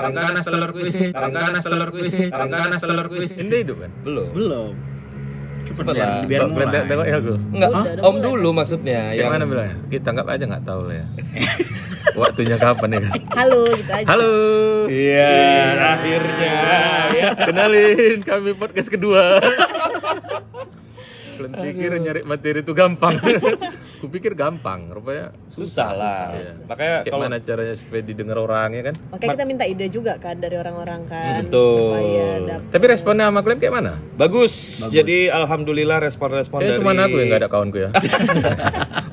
Larangganas telur kuih, larangganas telur kuih, larangganas telur kuih. Ini hidup kan? Belum. Belum. Cepet lah. biar Kok mulai. Tengok tengok ya gue. Enggak, Udah, udah om mulai. dulu maksudnya Yang yang mana bilangnya? Kita anggap aja nggak tahu lah ya. Waktunya kapan ya? kan? Halo gitu aja. Halo. Iya, akhirnya. Iya. Ya. Kenalin kami podcast kedua. Kalian pikir nyari materi itu gampang. Kupikir gampang, rupanya Susah lah. Iya. Makanya Kayak kalau mana caranya supaya didengar orang ya kan? Makanya kita minta ide juga kan dari orang-orang kan Mm, Betul. supaya dapat. Tapi responnya sama kalian kayak mana? bagus. Jadi alhamdulillah respon-respon Kayaknya dari cuma Ya, aku yang gak ada kawanku ya.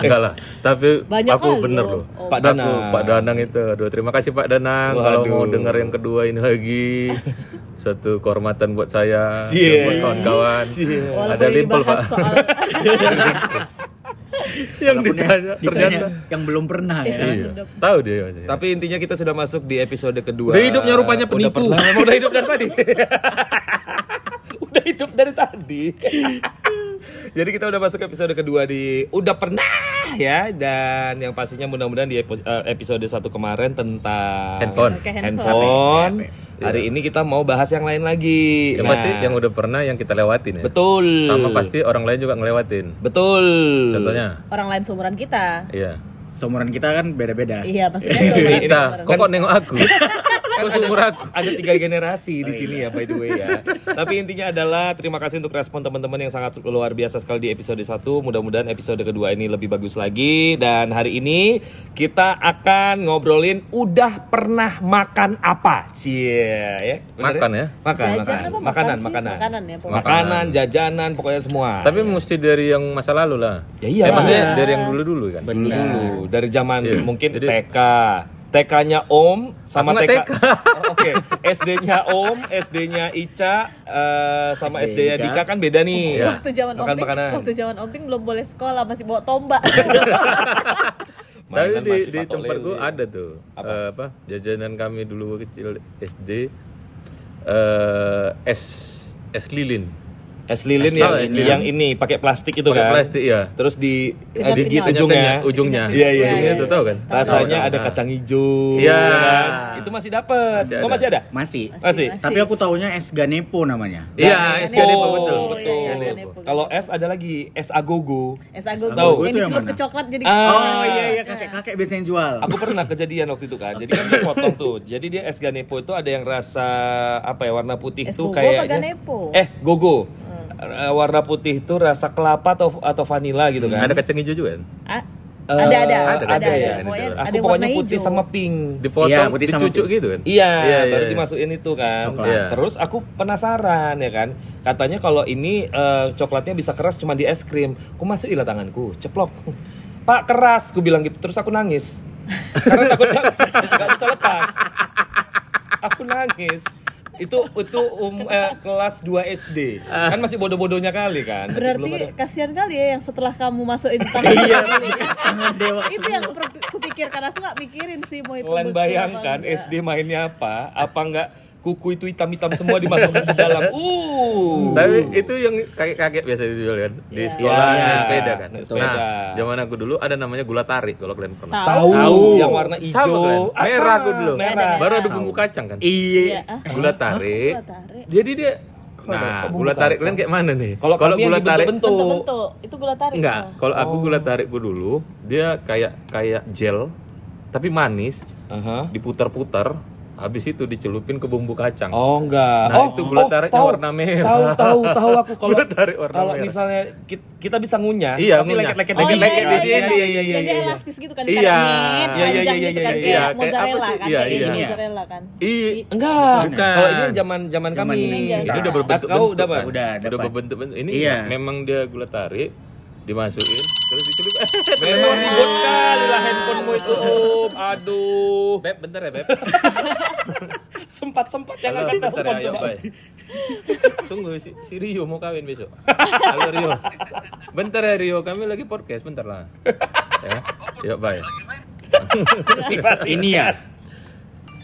Enggak lah, tapi Banyak aku kali bener loh. loh. Oh. Pak Aku, Danang. Pak Danang itu. Aduh, terima kasih Pak Danang kalau mau Waduh. dengar yang kedua ini lagi. Suatu kehormatan buat saya, Cie. buat kawan-kawan. Walaupun Ada ini limpel bahas Pak. soal yang Walaupun ditanya, ditanya ternyata yang belum pernah ya. Iya. Tahu dia maksudnya. Tapi intinya kita sudah masuk di episode kedua. Udah hidupnya rupanya Udah penipu. pernah- Emang Udah, hidup dari tadi. udah hidup dari tadi. Jadi kita udah masuk episode kedua di udah pernah ya dan yang pastinya mudah-mudahan di epo- eh, episode satu kemarin tentang Handphone. Iya. Oke, handphone. Hari ini kita mau bahas yang lain lagi. Yang Nah, pasti yang udah pernah yang kita lewatin ya. betul. Sama pasti orang lain juga ngelewatin. Betul. Contohnya, orang lain seumuran kita. iya. Seumuran kita kan beda-beda. Iya, maksudnya seumuran Kita, kok kok nengok aku? Kok seumur aku? ada tiga generasi Oh, iya. di sini ya by the way ya. Tapi intinya adalah terima kasih untuk respon teman-teman yang sangat luar biasa sekali di episode 1. Mudah-mudahan episode kedua ini lebih bagus lagi dan hari ini kita akan ngobrolin udah pernah makan apa. Cie ya. Bener Makan ya? Makan, Jajan makan. apa makan Makanan, sih? makanan. Makanan ya, pokoknya. Makanan, jajanan, pokoknya semua. Tapi mesti dari yang masa lalu lah. Ya iya. Eh, maksudnya dari yang dulu-dulu kan. dulu dulu dari zaman Iya. mungkin Jadi- TK TK-nya Om sama Aku nggak TK, TK. Oh, oke SD-nya Om SD-nya Ica eh, sama SD-nya Ica. Dika kan beda nih Iya. Waktu zaman makan Omping, makanan waktu zaman Omping belum boleh sekolah, masih bawa tombak. Tapi Mainan di, masih ya. di patok tempat gue lele. ada tuh apa? apa jajanan kami dulu kecil SD eh es es lilin es Es lilin yang, tahu, es lilin. yang ini pakai plastik itu pakai kan plastik ya. terus di eh, Tingkat di, di tingkat. ujungnya ujungnya. Iya, iya, ujungnya iya. tuh tahu kan? rasanya Tahu, ada tahu. kacang hijau Iya. kan? itu masih dapet Masih Kok ada. masih ada Masih. masih, Masih. Tapi aku taunya es ganepo namanya. Iya, Ganepo. es ganepo betul, Oh, betul. iya, es iya, ganepo. ganepo. kalau es ada lagi es agogo Es agogo Tahu. Itu yang yang dicelup ke mana? coklat jadi Ah. Oh iya iya kakek-kakek biasanya jual. Aku pernah kejadian waktu itu kan. Jadi kan dia potong tuh. Jadi dia es ganepo itu ada yang rasa apa ya warna putih Es tuh gogo kayaknya. apa ganepo? Hmm. Eh, gogo. Eh, warna putih itu rasa kelapa atau atau vanila gitu kan. Ada kacang hijau juga kan? Ah, Eh, iya, ada ada ada, ada ada, ada, ya, ada. pokoknya ada Aku yang warna pokoknya putih hijau. sama pink. Dipotong, Iya, putih sama dicucuk pink. gitu kan? Iya, iya, baru iya. dimasukin itu kan. Coklat. Iya. Terus aku penasaran ya kan. Katanya kalau ini eh, coklatnya bisa keras cuma di es krim. Ku masuk ilah tanganku, ceplok. Pak keras, ku bilang gitu. Terus aku nangis. Karena takut nggak bisa, nggak bisa lepas. Aku nangis. Itu itu um, eh, kelas 2 SD. Kan masih bodoh-bodohnya kali kan. Masih Berarti belum ada- kasihan kali ya yang setelah kamu masukin tangan. Iya, setengah dewa. itu yang aku per- kupikirkan aku nggak mikirin sih mau itu Kalian betul bayangkan apa enggak. SD mainnya apa? Apa nggak kuku itu hitam-hitam semua dimasukkan ke dalam. Uh. Tapi itu yang kakek-kakek biasa dijual kan di Iya. sekolah Iya. naik sepeda kan. Naik Nah, sepeda. zaman aku dulu ada namanya gula tarik kalau kalian pernah. tahu yang warna Sama hijau, Ah, kan? Merah aku dulu. Merah. Eh? Baru ada bumbu kacang kan. Iya. Iya. Ah, Gula tarik. Gula tarik. Jadi dia ada- Nah, kok gula bumbu tarik kacang? kalian kayak mana nih? Kalau kami yang dibentuk-bentuk. bentuk-bentuk itu gula tarik Ah. enggak. Pak. Kalau Oh. aku gula tarik gua dulu, dia kayak kayak gel tapi manis, Aha. diputar-putar, habis itu dicelupin ke bumbu kacang. Oh enggak. Nah, oh, itu gula oh, tariknya tahu, warna merah. Tahu tahu tahu aku kalau Gula tarik warna kalau merah. misalnya kita, kita bisa ngunyah, Iya, tapi ngunyah. leket-leket Oh, dikit. Lengket-lengket iya, di sini, iya, iya, iya, Jadi iya. elastis gitu kan, Iya. dikarangin, Iya, iya, panjang iya, gitu iya, kan, iya, kayak iya. mozzarella Kayak apa kan, sih? Iya, kayak iya. mozzarella kan. Ih, Enggak. Bukan. Kalau ini zaman-zaman kami. Iya. Nah, ini. Ini udah Ah, berbentuk kan? Kau udah, Pak? Udah, udah dapat. berbentuk bentuk. Ini Iya. memang dia gula tarik dimasukin terus dicelup. Memang ribut kali lah handphonemu itu. Om. Aduh. Beb, bentar ya, Beb. Sempat-sempat yang Halo, akan bentar ya, telepon ayo, coba. Bay. Tunggu si, si Rio mau kawin besok. Halo Rio. Bentar ya Rio, kami lagi podcast bentar lah. Ya. Yuk, bye. Ini ya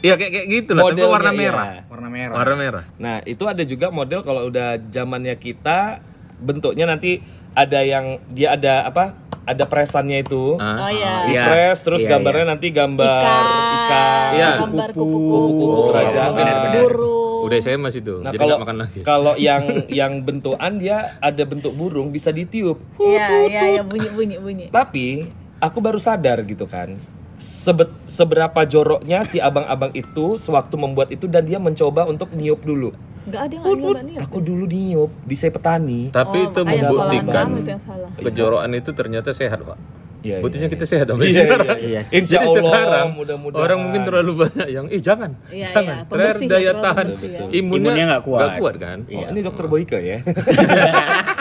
Iya kayak kayak gitu lah, tapi Modelnya, warna iya. merah. warna merah. Warna merah. Nah, itu ada juga model kalau udah zamannya kita bentuknya nanti ada yang dia ada apa? ada presannya itu. Ah, Oh iya. Iya. Dipres terus Iya, gambarnya nanti gambar Ikan, ikan. Nah, Iya. gambar Kupu-kupu. kupu-kupu, Iya, Kupu-kupu Oh, kerajaan. burung. Udah SMA sih tuh, Nah, jadi kalau nggak makan lagi. kalau yang yang bentukan dia ada bentuk burung bisa ditiup. Iya, iya, iya, bunyi bunyi bunyi. Tapi aku baru sadar gitu kan. Sebet- seberapa joroknya si abang-abang itu sewaktu membuat itu dan dia mencoba untuk niup dulu. Enggak ada yang nyoba nih. Aku dulu niup di saya petani. Tapi Oh, itu makanya sekolahan membuktikan kamu itu yang salah. kejoroan itu ternyata sehat, Pak. Iya, Buktinya iya, kita sehat sampai Iya, sekarang. iya, iya. Insya Jadi Allah, sekarang mudah-mudahan. orang mungkin terlalu banyak yang eh jangan, Iya, jangan. iya, Terakhir pembersih ya, daya terlalu tahan pembersih ya. imunnya Imunnya nggak kuat. kan? Oh, ini dokter Boyke ya.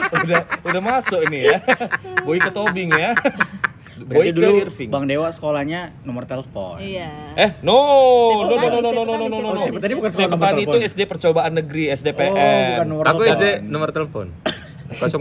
udah udah masuk ini ya. Boyke Tobing ya. Boyke Berarti dulu Irving. Bang Dewa sekolahnya nomor telepon. Iya. Eh, no, no, no, no, no, no, no, no, no, no. Saya petani bukan Saya soal nomor petani itu telepon. SD percobaan negeri, SDPN. Oh, bukan nomor Aku telepon. SD nomor telepon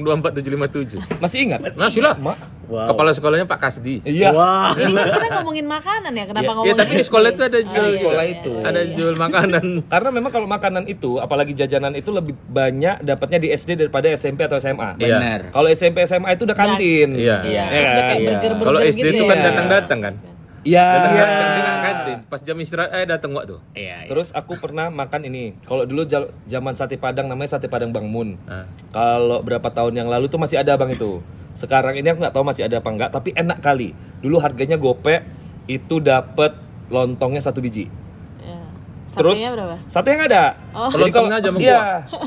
0247557. Masih ingat? Nah, sudah. Mak. Wow. Kepala sekolahnya Pak Kasdi. Iya. Wah. Ini kita ngomongin makanan ya, kenapa Ya ngomongin? Nah. tapi di sekolah itu ada jual iya, sekolah itu. Ada jual makanan. Karena memang kalau makanan itu, apalagi jajanan itu lebih banyak dapatnya di SD daripada SMP atau SMA. Iya. Benar. Kalau SMP SMA itu udah kantin. Iya. Iya. Ya Sudah kan? kayak Iya. burger-burger Kalau SD gitu itu ya. Ah. kan datang-datang kan. Iya. Datang-datang dia nggak kantin. Pas jam istirahat eh datang waktu. Iya. iya. Terus aku pernah makan ini. Kalau dulu jal- zaman sate Padang namanya sate Padang Bang Mun. Ah. Kalau berapa tahun yang lalu tuh masih ada abang itu. Sekarang ini aku nggak tahu masih ada apa enggak, tapi enak kali. Dulu harganya gopek itu dapat lontongnya satu biji. Iya. Satenya Terus berapa? sate yang ada. Oh. Jadi kalau- Lontongnya aja sama iya,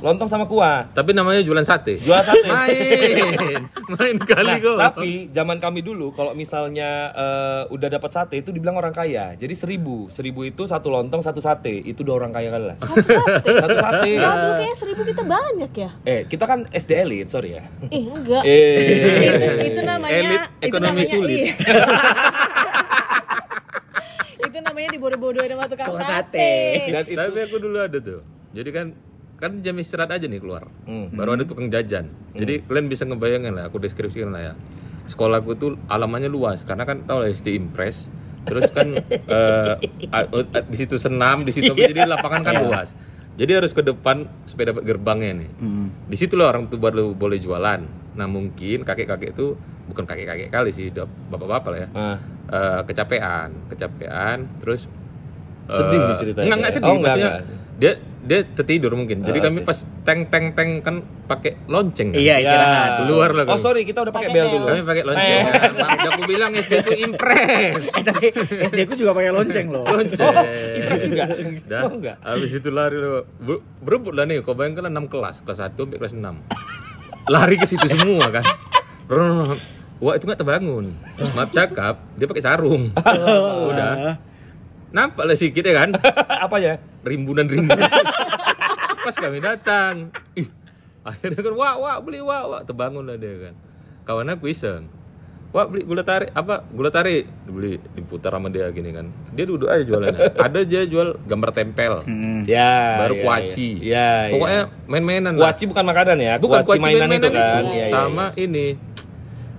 lontong sama kuah. Tapi namanya jualan sate. Jual sate. Main. Main kali Nah, kok. tapi zaman kami dulu kalau misalnya eh, udah dapat sate itu dibilang orang kaya. Jadi seribu, seribu itu satu lontong satu sate itu udah orang kaya kali lah. Satu sate. Iya. Ya, dulu kayaknya seribu kita banyak ya. Eh, kita kan SD elit, sorry ya. Ih, enggak. Eh, itu, itu namanya Elit itu ekonomi namanya- sulit. iya. itu namanya dibodoh-bodohin sama tukang Tukang sate. sate. dan itu Tapi aku dulu ada tuh. Jadi kan kan jam istirahat aja nih keluar. Hmm. Baru ada tukang jajan. Jadi kalian bisa ngebayangin lah, aku deskripsikan lah ya. Sekolahku tuh alamannya luas karena kan tau lah SD Impress. Terus kan eh, a- a- di situ senam, di situ apa, Iya. jadi lapangan kan luas. Jadi harus ke depan supaya dapat gerbangnya nih. Hmm. Di situ lah orang tuh baru boleh jualan. Nah mungkin kakek-kakek itu bukan kakek-kakek kali sih, udah bapak-bapak lah ya. Ah, Eh, kecapean, kecapean, terus eh, Sedih nih ceritanya. Enggak, enggak sedih, Oh, enggak, maksudnya enggak. Ah, dia dia tertidur mungkin. Jadi kami pas teng teng teng kan pakai lonceng. kan? Iya, Eh. istirahat. Keluar lah Oh, kami. sorry, kita udah Ya. pakai Pakai bel Eh. bel. dulu. Kami pakai lonceng. kan? Udah aku bilang SD itu impress. Tapi SD ku juga pakai lonceng loh. Lonceng. Oh, Impress juga. Dah, Oh, enggak. habis itu lari loh. Ber- berebut lah nih, kau bayangkan lah 6 kelas, kelas 1 sampai kelas 6. Lari ke situ semua kan. Rrrr. Wah itu nggak terbangun. Maaf cakap, dia pakai sarung. Udah. Nampak lah sikit ya kan. Apa ya? rimbunan-rimbunan. Pas kami datang, ih, akhirnya kan wah wah beli wah wah terbangun lah dia kan. Kawan aku iseng, wah beli gula tarik apa gula tarik beli diputar sama dia gini kan. Dia duduk aja jualannya. Ada aja jual gambar tempel, Hmm. Ya. baru ya, kuaci. Ya. ya. Pokoknya main-mainan. lah. kuaci bukan makanan ya, bukan kuaci, mainan itu kan. itu. Iya, iya, Sama iya. ini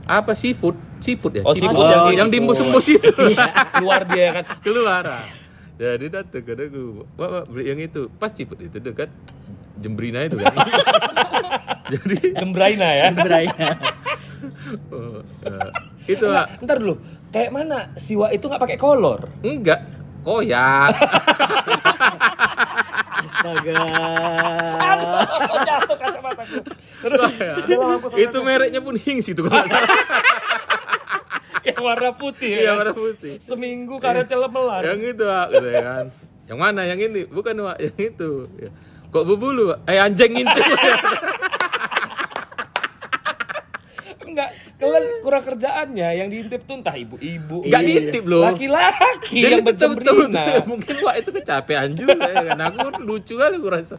apa seafood, seafood ya. Oh, seafood yang, yang- yang diembus-embus itu. keluar dia kan. keluar ah. jadi datang ke aku wah Wak, beli yang itu pas ciput itu dekat jembrina itu kan jadi Jembraina ya. Beraya. oh, eh, itu Wak. Nggak, ntar dulu. Kayak mana siwa itu nggak pakai kolor? enggak koyak Astaga. Ah. Jatuh kacamataku. Koyak. itu mereknya pun hings itu Oh, kalau nggak salah iya, Yang warna putih. Iya, ya. warna putih Seminggu karetnya lemelan. yang itu Wak, gitu ya kan yang mana yang ini bukan Wak, yang itu Ya. kok bubulu Wak? eh anjing itu Enggak, kalian kurang kerjaannya yang diintip tuh entah ibu-ibu, Nggak diintip loh. Laki-laki Jadi yang betul-betul berjembrina. mungkin Wak itu kecapean juga ya kan. Aku lucu kali aku rasa.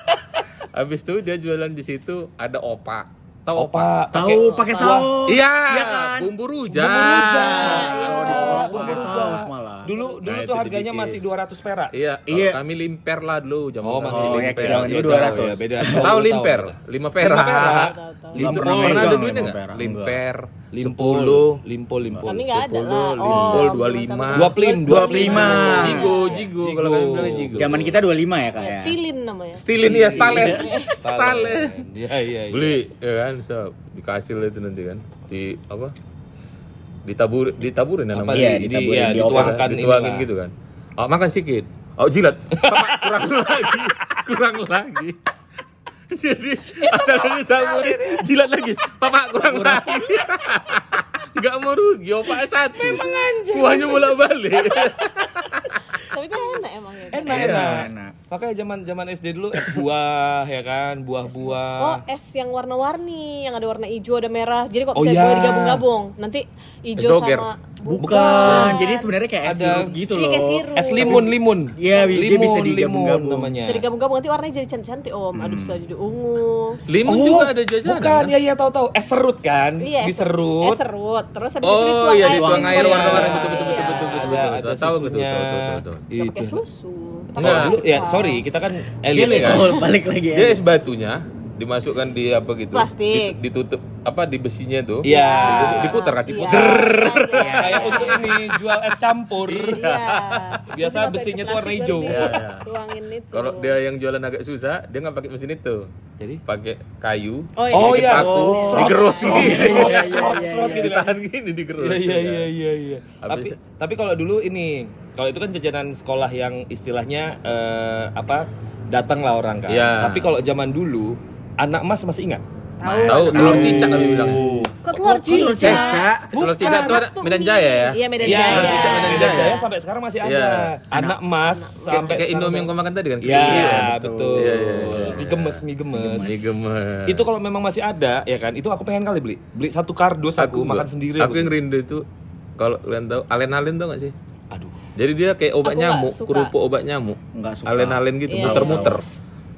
Habis itu dia jualan di situ ada opak. Tahu opak? Opa, Oh, pakai- Tahu pakai saus. Iya, kan? bumbu rujak. Bumbu rujak. Nah. Oh. Kalau di Wah, opak. bumbu rujak. saus malah. Dulu dulu Nah, tuh itu harganya dibikin. masih 200 perak. Iya, kalau Iya. kami limper lah dulu zaman Oh, masih Oh, ya, limper. zaman dulu 200. ya, beda. Tahu limper? Lima perak. Nggak Itu pernah pernah ada megang duitnya lima nggak? perak, Limper. Limpolo, limpo, limpo. Kami nggak ada lah. Oh, Sepuluh, limpol, dua belum lima. tahu. Dua plim, dua plim. 25. Jigo, jigo kalau kami bilang jigo. Zaman kita 25 ya, Kak ya. Iya. Tilin namanya. stilin ya, stalen. Stalen. Iya, iya, iya. beli ya kan so, dikasih lah itu nanti kan di apa ditabur ditaburin ya namanya. Iya, di- di- ditaburin, ya, dioper. dituangkan dituangin inilah. gitu kan. Oh, makan sedikit. Oh, jilat. Pak, kurang lagi. Kurang lagi. Jadi asal ditaburin, jilat lagi. Papa kurang lagi. Gak mau rugi, opak satu. Memang anjing. Kuahnya bolak-balik. Tapi itu enak emang ya. Enak, Iya. enak. Enak. Makanya zaman zaman SD dulu es buah ya kan, buah-buah. Oh, es yang warna-warni, yang ada warna hijau, ada merah. Jadi kok Oh, bisa iya. dua digabung-gabung. Nanti Es hijau doger. sama Bukan. Jadi sebenarnya kayak es Ada- sirup gitu Iya, loh. kayak sirup. es limun Eh, limun. Iya, dia bisa digabung-gabung. namanya. bisa digabung-gabung nanti warnanya jadi cantik-cantik, Om. Ada Hmm. bisa jadi ungu. Limun Oh, juga ada jajanan. Bukan, kan? iya iya tahu tahu. Es serut kan? Iya, es- Diserut. Es serut. Terus habis itu Oh dituang iya air dituang limun. air Iya. warna-warna gitu, betul betul betul Iya. betul betul Ada- betul betul ada tahu betul susunya. betul betul betul. Nggak pakai Iya. Itu. susu. Kita Enggak, pakai dulu ya apa? sorry, kita kan elit Gini ya. kan. Oh, balik lagi ya. Dia es batunya dimasukkan di apa gitu Iya. Plastik. dit- ditutup apa di besinya tuh Iya. Diputar diputar kan Iya. diputar Iya. Kayak untuk ini jual es campur. Iya. Biasa Terus dimasukin besinya ke tuh warna plastik, hijau. baru Iya, di- iya. Tuangin itu. kalau dia yang jualan agak susah dia nggak pakai mesin itu Jadi? pakai kayu Oh iya. Oh iya, Paku, oh, digerus. Serot, Iya, serot, iya, serot, iya, serot gitu kan. ditahan gini digerus Iya iya ya. iya iya iya. Habis- Tapi tapi kalau dulu ini, kalau itu kan jajanan sekolah yang istilahnya eh, apa? Datang lah orang kan. Iya. Tapi kalau zaman dulu, anak mas masih ingat? tahu telur cicak kami bilang Kok telur Telur cicak? cecak. telur cicak itu Mas ada Tumi. Medan Jaya ya Iya Medan Iya, Jaya. Telur cicak Medan Jaya. sampai sekarang masih ada. ya? Iya. Anak Mas Kayak- sampai kayak sekarang- Indomie yang kau makan tadi kan Iya, Kecil. betul. Iya, iya, iya. Mie gemes, mie gemes. Ini gemes. Itu kalau memang masih ada ya kan, itu aku pengen kali beli. Beli satu kardus Iya, aku, makan gua- sendiri Aku yang sih. rindu itu kalau kalian tahu alen-alen tau gak sih? Aduh. Jadi dia kayak obat Aku nggak nyamuk, suka. kerupuk obat nyamuk. Nggak suka. Alen-alen gitu Iya, muter-muter.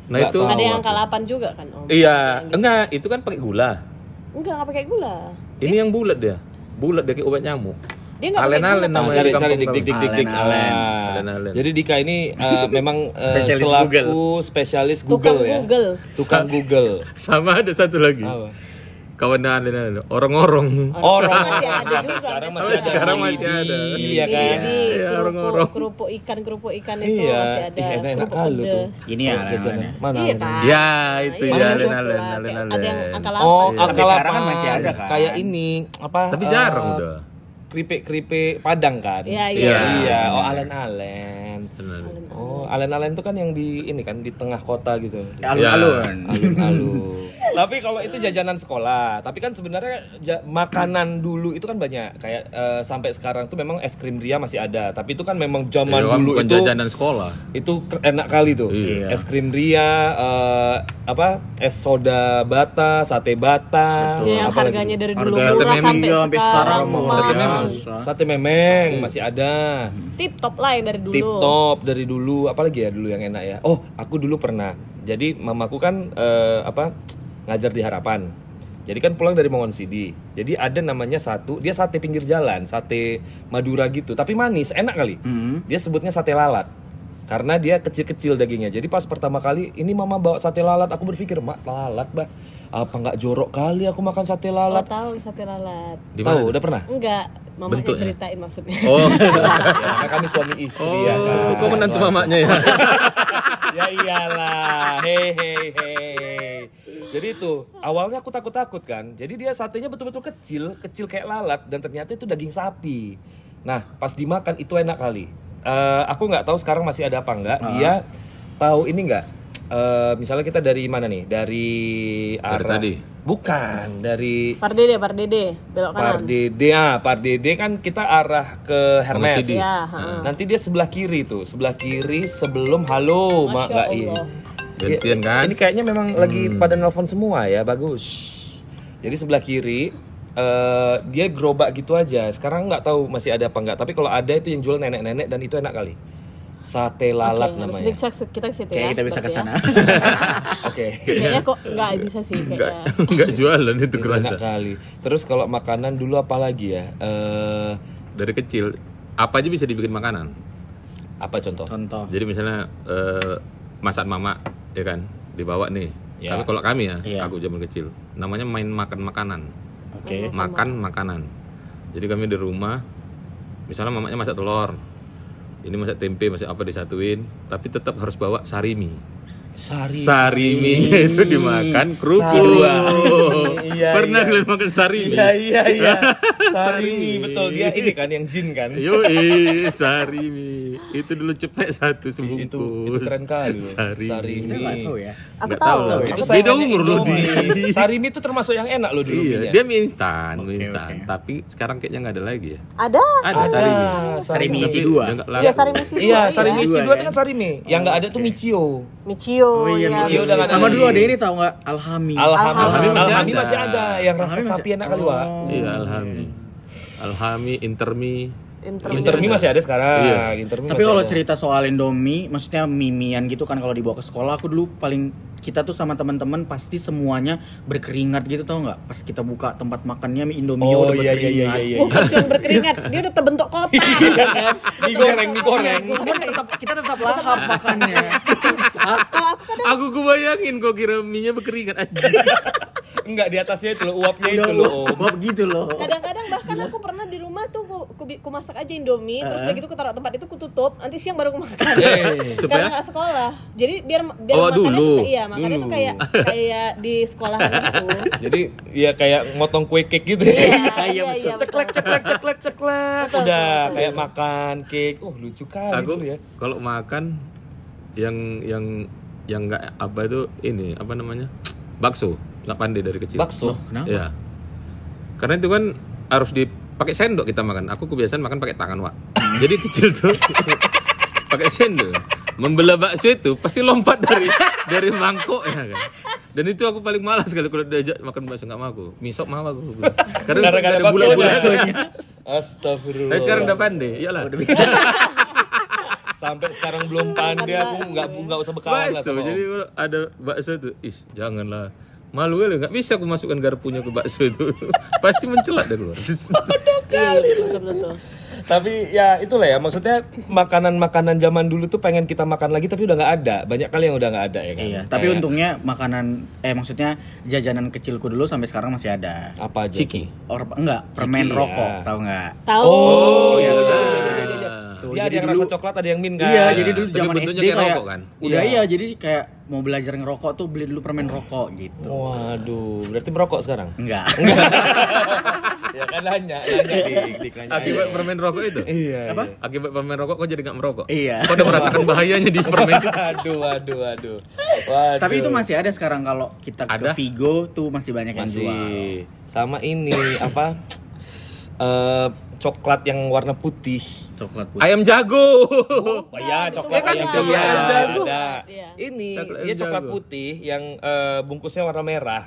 Nah Nggak itu tahu. Ada yang gitu. kalapan juga kan Om? Iya, enggak, itu kan pakai gula. Enggak, nggak pakai gula. Ini yang bulat dia. Bulat dia kayak obat nyamuk. Dia nggak pakai Alen-alen Nah, namanya cari di cari kampung dik dik dik kami. dik dik. Alen-alen. Ah. Alen-alen. Jadi Dika ini eh, memang eh, Spesialis selaku Google. spesialis Tukang Google ya. Google. Tukang Google. Sama ada satu lagi. Apa? Kawan alen-alen, orang-orang. Orang Masih ada juga, Sampai Oh, sekarang sampai masih ada. sekarang masih Lidi, ada. Iya kan? Jadi Iya, kerupuk, orang-orang. kerupuk ikan, kerupuk ikan itu Iya. masih ada. Ih, enak-enak kerupuk kali tuh. pedes. Nah, Gini ya, Jajanan. alen-alennya. Mana? Iya alen-alen? kan? Ya, itu Nah, ya iya. alen-alen, Ada- alen-alen. Ada yang angka Oh, lapan. angka Tapi sekarang kan lapan. masih ada kan? Kayak ini apa? Tapi jarang eh, udah. Keripik-keripik Padang kan? Iya, iya. Iya. Iya, oh alen-alen. Oh, alen-alen itu kan yang di ini kan di tengah kota gitu. Ya, Alun-alun. Iya. Alun-alun. tapi kalau itu jajanan sekolah, tapi kan sebenarnya ja- makanan dulu itu kan banyak. Kayak eh, sampai sekarang tuh memang es krim Ria masih ada, tapi itu kan memang zaman Iya, kan, dulu bukan itu jajanan sekolah. itu ke- enak kali tuh. Iya. Es krim Ria eh, apa? Es soda bata, sate bata, Ya, yang apalagi? harganya dari dulu Harga murah sate sampai memang sampai sekarang sekarang Sate mahal. memang. Sate memeng masih ada. Tip top lah yang dari dulu. Tip top dari dulu, apalagi ya dulu yang enak ya. Oh, aku dulu pernah. Jadi mamaku kan eh, apa ngajar di Harapan. Jadi kan pulang dari Mongon Sidi. Jadi ada namanya satu, dia sate pinggir jalan, sate Madura gitu, tapi manis, enak kali. Hmm. Dia sebutnya sate lalat. Karena dia kecil-kecil dagingnya. Jadi pas pertama kali ini mama bawa sate lalat, aku berpikir, "Mak, lalat, Mbak. Apa nggak jorok kali aku makan sate Nggak lalat?" tahu sate lalat. Tahu, udah pernah? Enggak, mamanya Bentuknya? ceritain maksudnya. Oh, Karena kan kami suami istri ya oh kan. kok menantu mamanya ya? Iya. ya iyalah hei hei hei jadi itu awalnya aku takut takut kan jadi dia satenya betul betul kecil kecil kayak lalat dan ternyata itu daging sapi nah pas dimakan itu enak kali Eh, aku nggak tahu sekarang masih ada apa nggak dia tahu ini nggak Eh, misalnya kita dari mana nih dari arah tadi? bukan dari Pardede, pardede, belok kanan. Pardede, ah, Pardede kan kita arah ke Hermes. Nah, Monosidi. Ya, heeh. Nanti dia sebelah kiri tuh, sebelah kiri sebelum halo, Masya Mak Mbak I. Allah. Gantian kan? Ini kayaknya memang lagi pada nelpon semua ya, bagus. Jadi sebelah kiri eh, dia gerobak gitu aja. Sekarang nggak tahu masih ada apa nggak. Tapi kalau ada itu yang jual nenek-nenek dan itu enak kali. Sate lalat Oke, habis namanya. ini kita, kita ke Iya, situ Kayak ya. kita bisa ke berarti ya. sana. Oke. Kayaknya kok nggak bisa sih Enggak, kayaknya. enggak jualan itu Itu kerasa. enak kali. Terus kalau makanan dulu apa lagi ya? Eh, Dari kecil apa aja bisa dibikin makanan. apa contoh? Contoh. Jadi misalnya eh, masak mama ya kan dibawa nih. Ya. Tapi kalau kami ya, Iya. aku zaman kecil namanya main makan makanan. Oh, Oke. Makan makanan. Jadi kami di rumah misalnya mamanya masak telur. Ini masak tempe, masak apa disatuin, tapi tetap harus bawa sarimi. Sari. sarimi itu dimakan kerupuk. Sarimi, iya, Pernah iya. kalian makan sarimi? Iya iya iya. Sarimi betul dia ini kan yang jin kan. Iya. Yoi, sarimi. Itu dulu cepet satu sebungkus. Itu itu keren kali. loh. Sarimi. Sarimi. Nggak tahu ya. Aku Nggak tahu. tahu. Aku Itu tahu. beda umur loh, Di. Di. Sarimi itu termasuk yang enak loh dulu. Iya, minyak. dia mie instan, mie Oke, instan. oke. Tapi sekarang kayaknya nggak ada lagi ya. Ada. Ada, sarimi. Sarimi Tapi isi dua. udah nggak laku. Iya, sarimi sih. Iya, sarimi iya. isi Dua, dua kan? itu kan Oh, sarimi. Yang nggak ada tuh michio. Hmm. Oh, Oh Michio. iya, ya. Michio udah nggak ada Iya, Sama lagi. dulu ada ini tau nggak Alhami, Alhami. Alhami Alhami, masih ada. masih ada yang rasa Alhami masih- sapi enak kali, Wak. Oh. Iya, alhami. Alhami, intermi. Intermi. Intermi masih ada sekarang. Iya. Intermi Tapi masih kalau ada. cerita soal Indomie, maksudnya mimian gitu kan kalau dibawa ke sekolah, aku dulu paling kita tuh sama teman-teman pasti semuanya berkeringat gitu tau nggak? Pas kita buka tempat makannya mie Indomie Oh, iya, udah iya, berkeringat. iya, iya, iya. Bukan cuma berkeringat, dia udah terbentuk kotak. digoreng, digoreng. Cuman tetap kita Iya. tetap Gitu lahap makannya. Kalau aku kan Aku kebayangin kok kira mie-nya berkeringat aja. Enggak di atasnya itu loh, uapnya Udah itu loh. loh, bab gitu loh. kadang-kadang bahkan aku pernah di rumah tuh ku, ku, bi- ku masak aja indomie terus udah gitu ku taruh tempat itu ku tutup nanti siang baru ku makan Eh, karena Supaya nggak sekolah jadi biar biar Oh, makannya dulu. tuh iya makannya tuh Dulu. Iya, kayak kayak di sekolah gitu Jadi ya kayak motong kue cake gitu ya. iya iya iya ceklek betul. ceklek ceklek ceklek udah kayak makan cake oh lucu kali aku dulu ya kalau makan yang yang yang nggak apa itu ini apa namanya bakso nggak pandai dari kecil. bakso Kenapa? Ya. Karena itu kan harus dipakai sendok kita makan. Aku kebiasaan makan pakai tangan, Wak. Jadi kecil tuh pakai sendok. Membelah bakso itu pasti lompat dari dari mangkok ya kan. Dan itu aku paling malas kalau kalau diajak makan bakso nggak mau aku. Misok mau aku. Karena, Gara-gara nggak ada baksonya. bulan-bulan. astagfirullah Tapi sekarang Oh, udah pandai, iyalah. sampai sekarang belum pandai aku nggak nggak usah bekalan lah bakso. sama om. Jadi kalau ada bakso itu, ih janganlah. Malu kali nggak bisa aku masukkan garpunya ke bakso itu. pasti mencelat dari luar. Iya, iya, betul betul tapi ya itulah ya maksudnya makanan-makanan zaman dulu tuh pengen kita makan lagi tapi udah nggak ada banyak kali yang udah nggak ada ya kan Iya, tapi Kayak untungnya makanan eh maksudnya jajanan kecilku dulu sampai sekarang masih ada. apa aja Ciki. Or enggak, permen Ciki, rokok, ya. tahu enggak? tahu oh iya iya. Tuh, dia ada jadi yang dulu- rasa coklat ada yang min kan Iya, Iya, jadi dulu tapi zaman bentuknya SD kayak kayak, rokok kan? Udah Iya. iya, jadi kayak mau belajar ngerokok tuh beli dulu permen rokok gitu. waduh berarti merokok sekarang Enggak. ya kan nanya nanya dik dik nanya Akibat permen rokok itu? iya apa Akibat permen rokok kok jadi nggak merokok? Iya. Kok udah merasakan bahayanya di permen? Aduh, aduh, aduh. Waduh. Tapi itu masih ada sekarang kalau kita Ada? ke Vigo tuh masih banyak yang masih jual. sama ini apa? eh coklat yang warna putih. Coklat putih. Ayam jago. Oh ya, itu coklat kan ayam coklat jago. ayam Ada, jago. ada. Iya. Ini Coklat dia ayam coklat jago. putih yang eh, bungkusnya warna merah.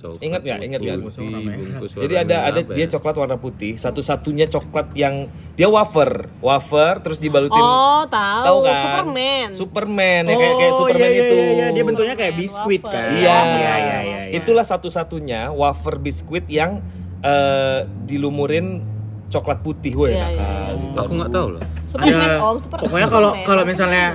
Coklat Ingat nggak? Ingat nggak? putih, bungkus Jadi warna ada merah ada apa dia ya? coklat warna putih, satu-satunya coklat yang dia wafer, wafer terus dibalutin oh tahu tahu kan? Superman Superman ya kayak kayak Superman iya, itu. Iya, iya, dia bentuknya kayak Permen, biskuit wafer. kan. Iya, iya, iya, iya, iya. Itulah satu-satunya wafer biskuit yang eh, dilumurin coklat putih, woi Iya, enak iya, kali. ya? Aku nggak tahu loh. Superman iya. om Superman Pokoknya kalau Superman. kalau misalnya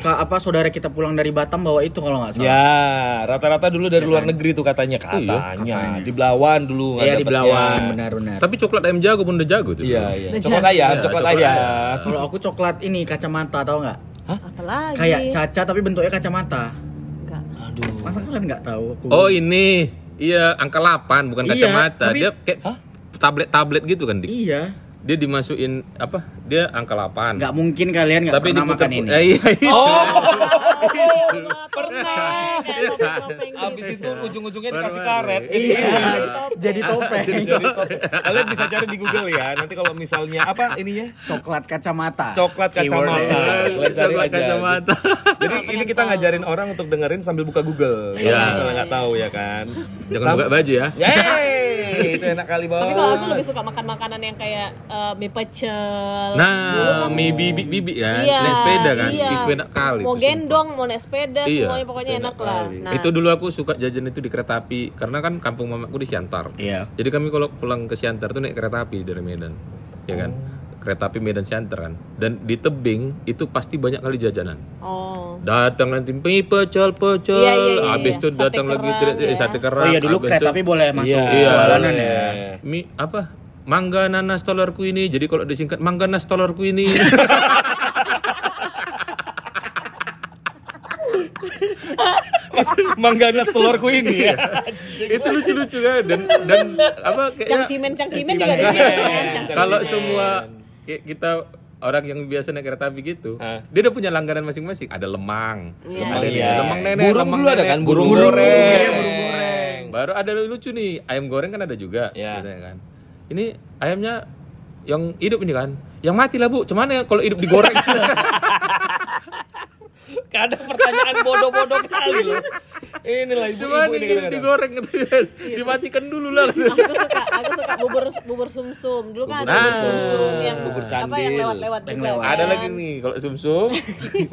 ke apa saudara kita pulang dari Batam bawa itu kalau nggak salah. Iya, Ya, rata-rata dulu dari luar negeri tuh katanya katanya, di Belawan dulu nggak Iya, di dapetnya. Belawan benar-benar. Tapi coklat ayam jago pun udah jago tuh. Iya, iya. Nah, Coklat ayam, Iya, coklat coklat ayam. ayam. Kalau aku coklat ini kacamata tahu nggak? apalagi Kayak caca tapi bentuknya kacamata. Enggak. Aduh. Masa kalian nggak tahu? Aku- Oh ini, iya angka 8 bukan Iya, kacamata. tapi- Dia kayak tablet-tablet gitu kan, Dik. Iya. Dia dimasukin apa? Dia angka 8. Nggak mungkin kalian nggak Tapi pernah diputer- makan ini. Eh, iya, itu. Oh, Wah, pernah kayak topeng-topeng gitu. Abis itu ujung-ujungnya dikasih Warna karet. warni. Iya. Jadi topeng. Jadi topeng. Kalian bisa cari di Google ya. Nanti kalau misalnya apa ininya? coklat kacamata. Coklat Keywordnya. kacamata. Kalian cari Coklat aja. kacamata. Jadi ini kita ngajarin orang untuk dengerin sambil buka Google. Kalau Iya. misalnya nggak tahu ya kan. Jangan buka baju ya. Yeay, itu enak kali banget. Tapi kalau aku lebih suka makan makanan yang kayak eh, mie pecel. Nah, mie bibik-bibik kan, Iya, naik sepeda kan, itu enak kali. Mau tuh, gendong, mau naik sepeda, Iya, semuanya pokoknya itu enak, lah. Nah, Itu dulu aku suka jajan itu di kereta api karena kan kampung mamaku di Siantar. Iya. Jadi kami kalau pulang ke Siantar tuh naik kereta api dari Medan. Ya kan? Kereta api Medan Siantar kan. Dan di tebing itu pasti banyak kali jajanan. oh. Datang nanti mie pecel-pecel, Iya, iya, iya, habis iya. itu Sate datang lagi kerang, tere- eh, ya. sate Oh kerang. iya dulu habis kereta itu tapi boleh masuk Iya. jalanan ya. Eh. mie apa? Mangga nanas telurku ini. Jadi kalau disingkat mangga nanas telurku ini. Mangganas telurku ini Iya. ya. itu lucu-lucu kan dan dan apa kayaknya Cangcimen, cangcimen juga ada Cangcimen. dia kan. Cangcimen. kalau semua ki- kita orang yang biasa naik kereta api gitu, Hah? dia udah punya langganan masing-masing. Ada lemang, Iya. ada Ah. Iya. nenek, lemang nenek, Burung lemang dulu ada nenek, kan? Burung goreng. goreng. Iya, burung goreng. Baru ada lucu nih, ayam goreng kan ada juga, Iya. biasanya kan. Ini ayamnya yang hidup ini kan, yang mati lah bu. Cuman ya kalau hidup digoreng, Kadang pertanyaan bodoh-bodoh kali loh. Inilah ibu-ibu cuman ini ini kadang-kadang. Iya, digoreng gitu kan, dimatikan dulu lah. aku suka aku suka bubur bubur sumsum dulu kan ada Bubur bubur sumsum sumsum. yang Bubur apa yang candil. lewat-lewat Yang juga lewat. kan. Ada lagi nih kalau sumsum,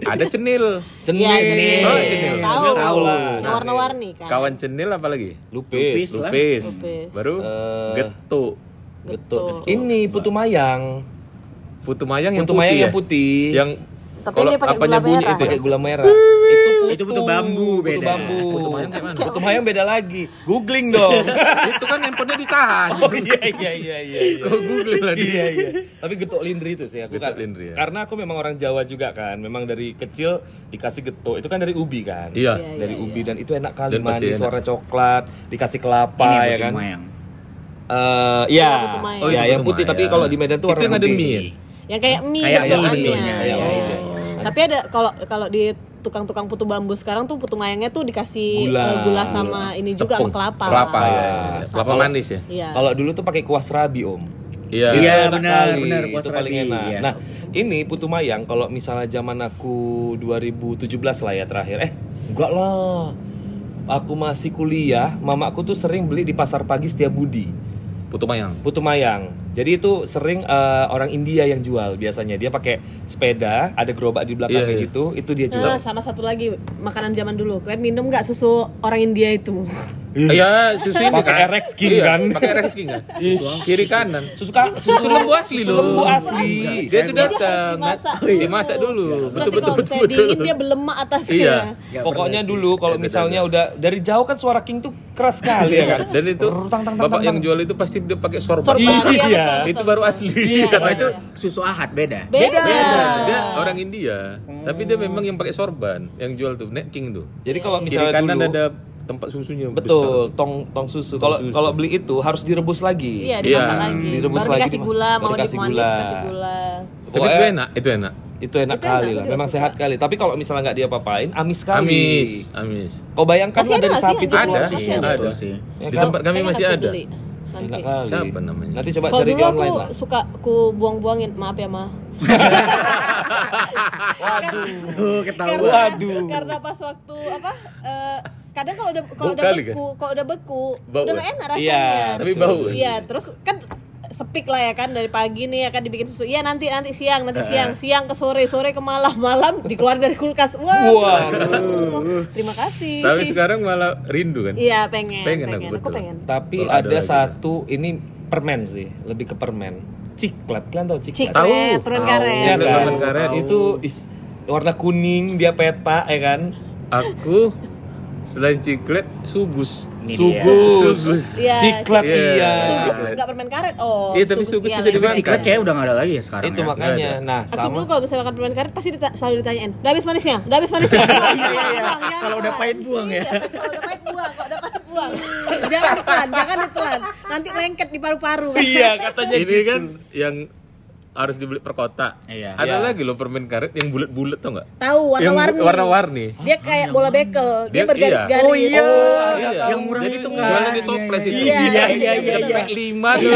ada cenil, Cenil. Iya, cenil. Oh, cenil. Tahu. Tahu lah. Warna-warni kan. kawan cenil apa lagi? Lupis. Lupis. Lah. Lupis. Lupis. Baru Eh. getuk. Betul. Ini putu mayang. Putu mayang yang Putu putih. mayang ya? yang putih. Yang Tapi kalau dia pakai apanya gula bunyi merah. itu ya? pakai gula merah. Itu putu. Itu putu bambu, Putu beda. bambu. Putu mayang kayak mana? Putu mayang beda lagi. Googling dong. itu kan handphonenya ditahan. oh iya iya iya iya. iya. Kok Google lagi? iya iya tapi getuk lindri itu sih aku Getuk kan lindri, ya. karena aku memang orang Jawa juga kan memang dari kecil dikasih getuk itu kan dari ubi kan Iya. dari ubi dan itu enak kali Dan pasti manis enak. warna coklat dikasih kelapa ya kan Mayang. Eh, iya Oh, itu Iya, yang putu putih tapi mayang. kalau di Medan tuh itu warna yang ada putih. mie. yang kayak mie Kayak bentukannya. mie bentuknya, Iya. iya, iya. tapi ada kalau kalau di tukang-tukang putu bambu sekarang tuh putu mayangnya tuh dikasih eh, Gula. iya, gula, sama ini juga Tepung. sama kelapa Kelapa ya. Kelapa Kalau- manis ya. Iya. Kalau dulu tuh pakai kuah serabi, Om. Iya. Itu Iya, enak benar, kali, benar, kuah Itu paling serabi, enak. iya. Nah, ini putu mayang kalau misalnya zaman aku 2017 lah ya terakhir. Eh, enggak lah. Aku masih kuliah, mamaku tuh sering beli di pasar pagi setiap budi. Putu mayang. Putu mayang. Jadi itu sering eh, orang India yang jual biasanya. Dia pakai sepeda, ada gerobak di belakangnya Iya, iya. gitu, itu dia jual. Nah, sama satu lagi makanan zaman dulu kan minum nggak susu orang India itu Iya, susu ini Pakai kan. Rex King, Iya, kan? Iya. Pakai Rex King kan. Kiri kanan. Susu, ka- Susu lembu asli susu loh. lembu asli. Dia tuh Jadi harus datang. dimasak Iya. Nat- Dimasak Iya. dulu. Terus Betul nanti betul kalau betul. misalnya betul. dingin dia berlemak atasnya Iya. Nggak Pokoknya pernah sih. dulu kalau Beda-beda. misalnya udah dari jauh kan suara King tuh keras sekali ya kan. Dan itu Brrr, tang, tang, tang, bapak tang, yang tang. jual itu pasti dia pakai sorban. Sorban, Iya. betul, Itu betul. baru asli. Iya, Karena iya, itu ya? iya. Susu ahad beda. beda, beda. Dia Ah. orang India, tapi dia memang yang pakai sorban, yang jual tuh Net King tuh. Jadi kalau Kiri misalnya kanan dulu ada tempat susunya besar. betul tong tong susu. Kalau susu. kalau beli itu harus direbus lagi. Iya, dimasak Iya. lagi. Direbus baru lagi, dikasih dimasak. gula, Baru mau dikasih dikasih gula. gula. dikasih gula. Tapi Oh, itu eh. enak, itu enak. Itu enak Itu enak, kali aku lah. juga Memang suka. sehat kali. Tapi kalau misalnya nggak diapa-apain, amis sekali. Amis, amis. Kau bayangkan Masih lah ada dari nggak sapi sih? itu keluar Ada, sih, susu. Masih ada. Betul sih. Ya Di kan? tempat kami Pengen masih aku ada. beli. Nanti. Enak kali. Siapa namanya? Nanti coba Kalau cari dulu di aku online lah. suka ku buang-buangin, maaf ya ma. Aduh, ketahuan. Karena, Waduh. karena pas waktu apa? eh, kadang kalau udah kalau Bau udah kali, beku, kalau udah beku, Bau udah ya? gak enak rasanya. Iya, Tapi bau. ya? Iya, terus kan sepik lah ya kan dari pagi nih ya kan dibikin susu. Iya nanti nanti Eh, siang, nanti siang, siang ke sore, sore ke malam, malam dikeluar dari kulkas. Wah. Wah. Terima kasih. Tapi sekarang malah rindu kan. Iya pengen, Pengen pengen, aku, aku, betul. pengen. Tapi Kalau ada ada lagi. satu ini permen sih, lebih ke permen. Ciklet, kalian tahu Tahu. ciklet? Ciklet, permen karet. Iya Ciklet, kan? permen karet. Itu is- warna kuning dia peta ya kan? Aku selain ciklet, subus. Ini Sugus. Sugus. Iya, Ciklet ciklet. iya. Sugus Ciklet. nggak permen karet, oh. Iya, tapi sugus bisa Tapi dimakan. ciklet kayak udah gak ada lagi ya sekarang Itu ya. makanya. Ada. Nah, Aku dulu sama kalau misalnya makan permen karet pasti dita- selalu ditanyain, udah habis manisnya, udah habis manisnya. Jangan, iya, iya. jangan, jangan Kalau udah ditelan. pahit, buang ya. Iya, Kalau udah pahit buang, kalau udah pahit buang. jangan ditelan, jangan ditelan. Nanti lengket di paru-paru. Iya, katanya Ini kan yang harus dibeli per kotak. Iya. Ada Iya. lagi loh permen karet yang bulat-bulat tau nggak? Tahu Yang warna-warni. warna-warni. Dia kayak bola bekel, Dia- dia bergaris-garis. Oh iya, Ah, iya. yang murah Jadi itu kan. jualan di toples itu. Iya, iya, iya, iya. Cepet lima tuh.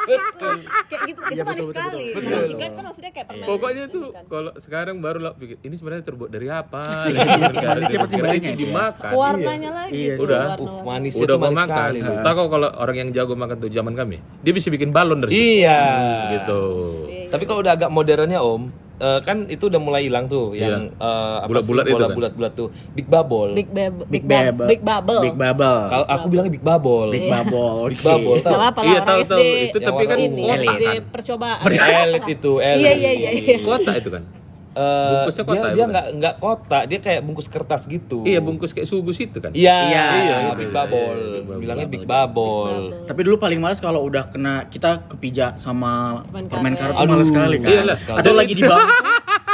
Betul. Oh, Kayak gitu, Iya, itu manis sekali. Kalau ciklet kan maksudnya kayak permen. Pokoknya tuh kalau sekarang baru lah pikir ini sebenarnya terbuat dari apa? Gitu kan. Manisnya pasti banyak itu ya. dimakan. Warnanya lagi Iya, tuh, udah. uh, warna-warni. manisnya Udah tuh mau manis makan. sekali. Iya. Tahu kok kalau orang yang jago makan tuh zaman kami, dia bisa bikin balon dari situ. Iya. gitu. Tapi kalau udah agak modernnya Om, eh, kan itu udah mulai hilang tuh yang eh, Iya. apa sih, Bulat-bulat itu kan? bulat-bulat tuh. Big Bubble. Big Bab- Big Bab- Bubble. Big Bubble. Big Bubble. Kalau aku bilangnya Big Bubble. Big Bubble. Big oke. Bubble. Gak apa-apa lah, Iya, orang tahu, SD. tahu. Itu tapi kan ini, kotak SD kan. percobaan. Elit itu, elit. Iya, iya, iya, iya. Kotak itu kan. Eh, Bungkusnya kotak dia ya, dia bukan? nggak nggak kotak, dia kayak bungkus kertas gitu. Iya, bungkus kayak sugus itu kan. Iya, Iya, iya, iya, big iya, bubble. iya, big bubble. Bilangnya big bubble. Tapi dulu paling males kalau udah kena kita kepijak sama Permen permen karet. karet tuh males sekali kan. Iyalah. Atau lagi di bangku.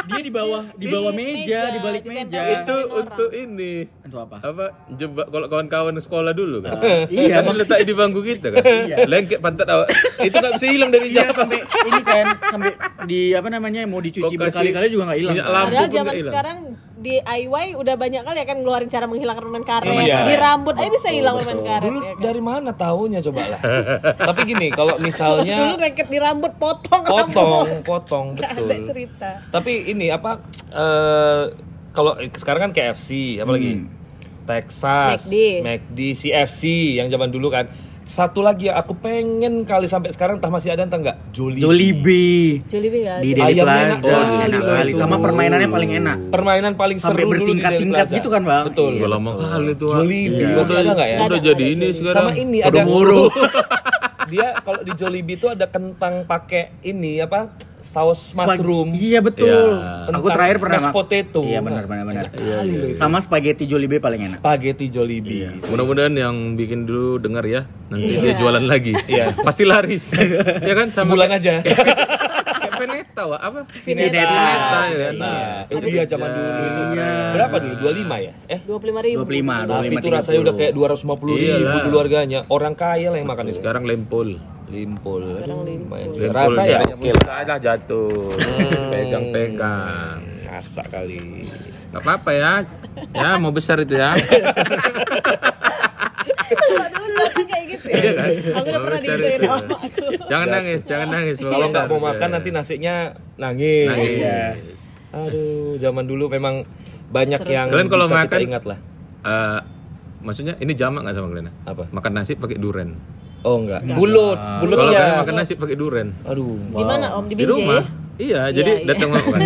Dia di bawah di bawah meja, di balik meja. ditempelin itu Iya. orang. untuk ini Itu apa? apa jebak kalau kawan-kawan sekolah dulu kan Ah, iya, kan letak di bangku kita kan Iya. lengket pantat awak itu nggak bisa hilang dari Iya Jawa sampai ini kan sampai di apa namanya mau dicuci Kau kasih berkali-kali juga nggak hilang. minyak kan? lampu. Padahal pun zaman nggak hilang. sekarang DIY udah banyak kali ya kan ngeluarin cara menghilangkan permen karet. Iya. Di rambut aja bisa hilang permen karet Dulu ya kan. dari mana taunya coba lah. Tapi gini, kalau Dulu misalnya rengket di rambut potong rambut. potong, potong Nggak ada betul. cerita. Tapi ini apa eh kalau sekarang kan KFC apalagi Hmm. Texas, McD. McD, CFC yang zaman dulu kan. Satu lagi yang aku pengen kali sampai sekarang entah masih ada entah enggak. Jollibee. Jollibee. Jollibee nggak Di ada. Daily Ayamnya Plus, enak oh, kali enak loh kali. itu. Sama permainannya paling enak. Permainan paling Sampai seru dulu di Deli bertingkat-tingkat Plaza. gitu kan, Bang? Betul. Iya. Udah lama kali tuh. ah. Jollibee, Iya. masih ada nggak ya? Udah Ada, jadi ada, ini Jollibee. sekarang. Sama ini ada Moro. Dia kalau di Jollibee itu ada kentang pakai ini apa? Saus Spag- mushroom. Iya betul. Iya. Aku terakhir pernah Mashed mak- potato. Iya benar benar benar. Iya, Kali loh itu. Sama spaghetti Jollibee paling enak. Spaghetti Iya. Jollibee. Mudah-mudahan yang bikin dulu dengar ya. Nanti dia jualan lagi. Iya. Pasti laris. ya kan sama Sebulan kayak- aja. kayak Veneta wah apa? Vineta. Vineta, ya. Nah, itu iya zaman dulu itu. Berapa dulu? 25 ya? Eh, 25 ribu. 25, tapi 25, itu rasanya 30. udah kayak 250 ribu Iyalah. dulu harganya. Orang kaya lah yang makan itu. Sekarang lempol. Limpul. Aduh, lumayan juga. Lempol Rasa ya. jatuh. Alah, jatuh. Hmm. Pegang-pegang. Rasa kali. Gak apa-apa ya. Ya mau besar itu ya. Kalau dulu zaman kayak gitu ya. Aku udah Mau pernah besar digituin itu. sama aku. Jangan nangis, jangan nangis. Kalau nggak mau besar. makan nanti nasinya ya. nangis. Iya. Aduh, zaman dulu memang banyak yang Kalian kalau bisa kita makan- ingat lah. Eh, maksudnya ini jamak nggak sama kalian? Apa? Makan nasi pakai duren. Oh enggak. Bulut, bulut Kalau kalian ya. makan nasi pakai duren. Aduh, Di mana Om? Di Di Binjai? rumah. Iya, jadi iya. datang mau makan.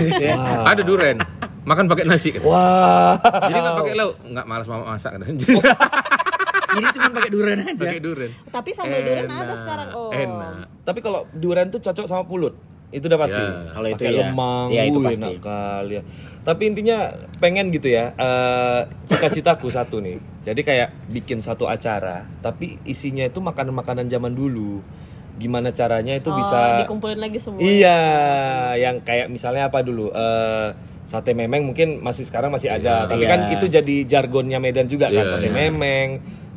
Ada duren. Makan pakai nasi. Wah. Jadi nggak pakai lauk, nggak malas mama masak Oh, katanya. Jadi cuma pakai durian iya. aja. pakai duren. Tapi sambal durian ada sekarang. Oh. Enak. Tapi kalau durian tuh cocok sama pulut. Itu udah pasti. Ya, kalau itu Pakai ya. lemang, Ya, itu wuh, pasti. enak kali ya. Tapi intinya pengen gitu ya. eh, cita-citaku satu nih. Jadi kayak bikin satu acara, tapi isinya itu makanan-makanan zaman dulu. Gimana caranya itu Oh, bisa dikumpulin lagi semua. Iya, yang kayak misalnya apa dulu? eh, sate memeng mungkin masih sekarang masih ada, tapi kan Iya. itu jadi jargonnya Medan juga kan Iya, sate iya. memeng,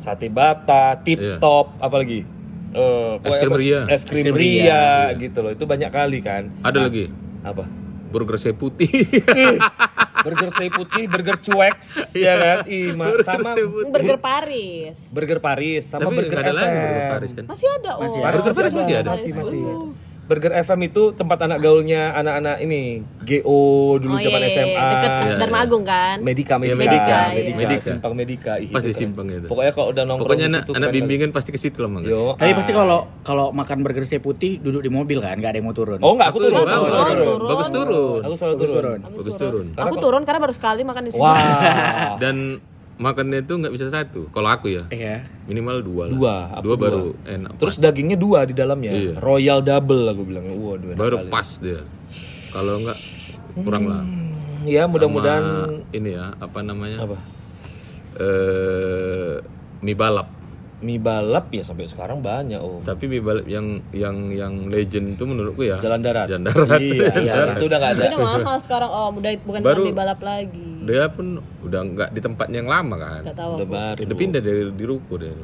sate bata, tip Iya. top, apalagi Eh, Es krim apa- ria. iya. es krim krim ria, ria, gitu loh. Itu banyak kali kan. Ada lagi Apa? burger saya putih. Burger sei putih, burger cueks, ya kan? Ih, Ma, sama Sei putih. Burger Paris. burger Paris, sama Tapi burger nggak ada lagi FM. burger Paris kan. Masih ada, oh. Paris Burger Paris masih ada? Masih, masih. Uh. Burger FM itu tempat anak gaulnya anak-anak ini GO dulu Oh, iya, zaman iya, iya. SMA. Dekat Iya, Dharma iya. Agung kan? Medika, Medika, Iya, Medika, Medika, Medika. Simpang Medika. Ih, Pasti keren. Simpang itu. Pokoknya kalau udah nongkrong Pokoknya di anak, situ anak keren bimbingan pasti ke situ lah Mang. kali. Yo. Tapi pasti ah. kalau kalau makan burger saya putih duduk di mobil kan, nggak ada yang mau turun. Oh enggak, aku Turun, turun. bagus turun. aku turun. Bagus turun. Aku selalu Bagus turun. turun. Bagus turun. Aku turun karena baru sekali makan di sini. Wah. Dan makannya itu nggak bisa satu. Kalau aku ya Iya. minimal dua lah. Dua, dua aku dua. baru enak. Terus dagingnya dua di dalamnya. Iya. Royal double aku bilang. Waduh. enak baru kali. pas dia. Kalau nggak kurang lah. Ya mudah-mudahan Sama ini ya apa namanya? apa? Eh, mie balap. Mie balap ya sampai sekarang banyak oh. Tapi mie balap yang yang yang legend itu menurutku ya. Jalan darat. Jalan darat. Iya, iya, itu udah nggak ada. Ini udah mahal sekarang, Om. Udah bukan Baru- kami balap lagi. Dia pun udah nggak di tempatnya yang lama kan. Gak tahu. Udah baru. Udah pindah dari di ruko dia.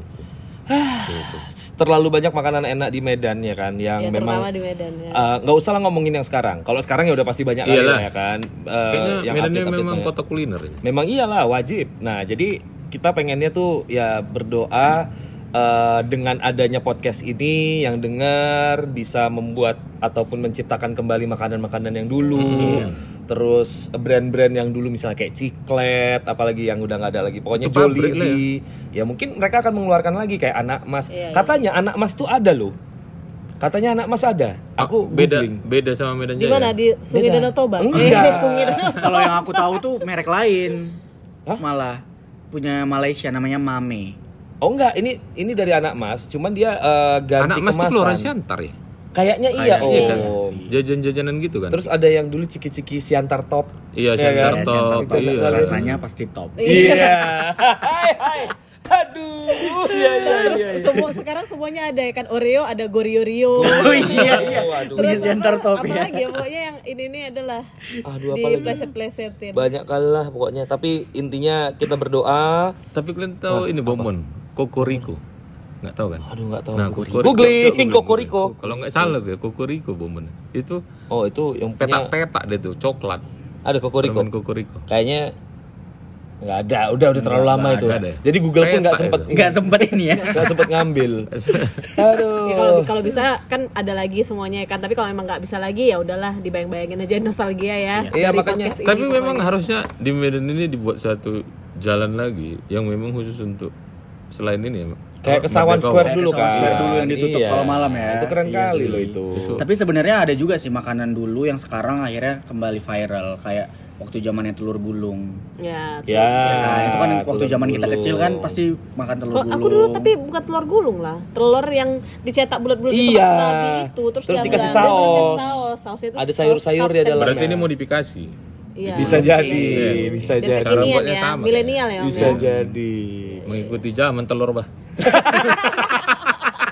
Eh, terlalu banyak makanan enak di Medan ya kan yang Ya, memang terutama di Medan ya. Eh, nggak usah lah ngomongin yang sekarang. Kalau sekarang ya udah pasti banyak kali Iyalah. lah ya kan. Eh, Kayaknya Medannya update-update-nya. memang kota kuliner. ya. ini. Memang iyalah wajib. Nah jadi kita pengennya tuh ya berdoa eh, dengan adanya podcast ini yang dengar bisa membuat ataupun menciptakan kembali makanan-makanan yang dulu. Hmm. Terus brand-brand yang dulu misalnya kayak Ciklet, apalagi yang udah nggak ada lagi. Pokoknya Itu pabrik lah ya. Jollibee. Ya mungkin mereka akan mengeluarkan lagi kayak Anak Mas. Iya, Katanya Anak Mas tuh ada loh. Katanya Anak Mas ada. Aku Beda googling. beda sama Medan ya? Di Jaya. mana? Di Sungai Beda. Danau Toba? Enggak. Iya, Eh, Sungai Danau. Kalau yang aku tahu tuh merek lain. Malah punya Malaysia namanya Mame. Oh enggak, ini ini dari Anak Mas, cuman dia eh, Anak ganti Mas itu kemasan. keluaran Siantar ya? Kayaknya iya, Kayaknya Iya kan? Om. Jajan-jajanan gitu kan? Terus ada yang dulu ciki-ciki siantar top. iya, Iya Siantar kan? top. Top, Iya. Siantar rasanya pasti top. Iya. Hai hai. Aduh, iya iya iya. Terus semua sekarang semuanya ada ya kan Oreo, ada Gorio Rio. Oh iya iya. Oh, aduh. Terus Yang apa, tertop, apa ya. lagi ya pokoknya yang ini ini adalah Aduh, apa di lagi? pleset-plesetin. Banyak kali lah pokoknya, tapi intinya kita berdoa. Tapi kalian tahu ini Bomon, Kokoriko. Nggak tahu kan? Aduh, nggak tahu. Nah, Kokoriko. Kokoriko. Googling Kokoriko. Kalau nggak salah ya Kokoriko Bomon. Itu Oh, itu yang punya petak-petak deh tuh, coklat. ada Kokoriko. Permen Kokoriko. Kayaknya nggak ada, udah udah terlalu lama nggak itu. ada deh. Jadi Google pun nggak Petak sempet itu. Nggak sempet ini ya. nggak sempet ngambil. Aduh. Ya, kalau kalau bisa kan ada lagi semuanya ya kan. Tapi kalau emang nggak bisa lagi ya udahlah dibayang-bayangin aja nostalgia ya. Iya, Dari makanya. podcast ini, Tapi pokoknya. memang harusnya di Medan ini dibuat satu jalan lagi yang memang khusus untuk selain ini ya. Mak. Kayak Apa, kesawan Merdeka Square Walk. dulu Kesawan kan. Square dulu yang ditutup kalau malam ya. Itu keren Iya kali sih. loh itu. Tapi sebenarnya ada juga sih makanan dulu yang sekarang akhirnya kembali viral kayak waktu zamannya telur gulung. Ya. Ya, Nah, itu Ah, kan waktu telur zaman kita gulung. kecil kan pasti makan telur Kalau gulung. aku dulu tapi bukan telur gulung lah, telur yang dicetak bulat-bulat itu Iya. pas lagi itu terus, Terus dia dikasih blender, dia saus. kasih saus. Sausnya itu Ada saus sayur-sayur di kapten. dalam. Berarti ini modifikasi. Iya. Bisa jadi, Iya. bisa Dan jadi. Cara kekinian buatnya ya, sama. milenial ya. Om Bisa ya. jadi. Mengikuti zaman telur, Bah.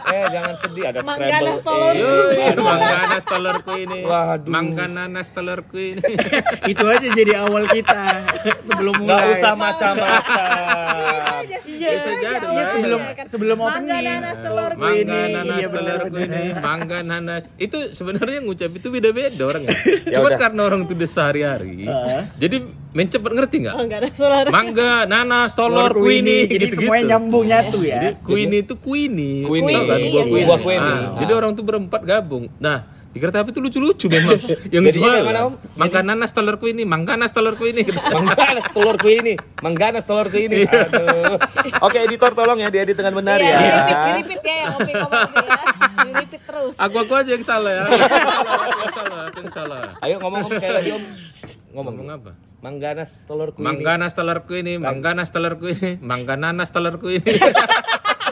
Eh, jangan sedih ada Mangga scramble. Eh, nas telur. egg. Yoi, mangga nanas telurku ini. Waduh. Mangga nanas telurku ini. itu aja jadi awal kita sebelum Nggak mulai. usah macam-macam. Iya, Bisa iya, jadi, iya, Mbak. Sebelum- iya, kan. sebelum Mangga, opening. nanas, telur, Mangga ini. nanas iya telurku benar. ini. Mangga nanas. Itu sebenarnya ngucap itu beda-beda orangnya. Ya Cuma udah. karena orang itu udah sehari-hari. Jadi main cepet ngerti nggak? Mangga, nanas, telur. Mangga, nanas, telur telur, kuini kuini, jadi gitu-gitu. semuanya nyambung nyatu ya. Kuini itu kuini. Kuini. Tau kan, buah Iya, kuini. iya. Buah kuini. Ah, Jadi orang tuh berempat gabung. Nah, di kereta api itu lucu-lucu memang. Yang Jadinya jual. kayak mana, Om? Mangga nanas telur kuini, mangga nanas gitu. telur kuini. Mengganas telurku ini, mengganas telurku ini. Aduh. Iya. Oke editor tolong ya diedit dengan benar Iya, ya. diripit, diripit ya yang kopi kopi ya. Diripit terus. Aku-aku aja yang salah ya. Aku yang salah, aku yang salah. Ayo ngomong om sekali lagi om. Ngomong. Ngomong apa? Mengganas telurku ini. Mangga nanas telur kuini, mangga nanas telur kuini, mangga nanas telur kuini.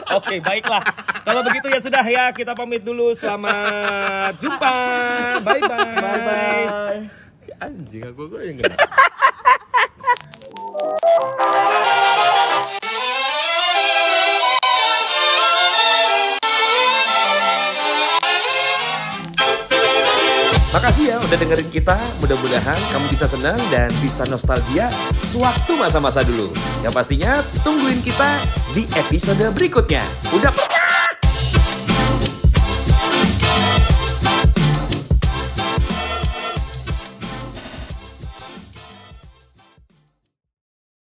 Oke, baiklah. Kalau begitu ya sudah ya, kita pamit dulu. Selamat jumpa. Bye bye. Bye Bye. Anjing aku kok yang kena. Makasih ya udah dengerin kita. Mudah-mudahan kamu bisa senang dan bisa nostalgia sewaktu masa-masa dulu. Yang pastinya tungguin kita di episode berikutnya. Udah pernah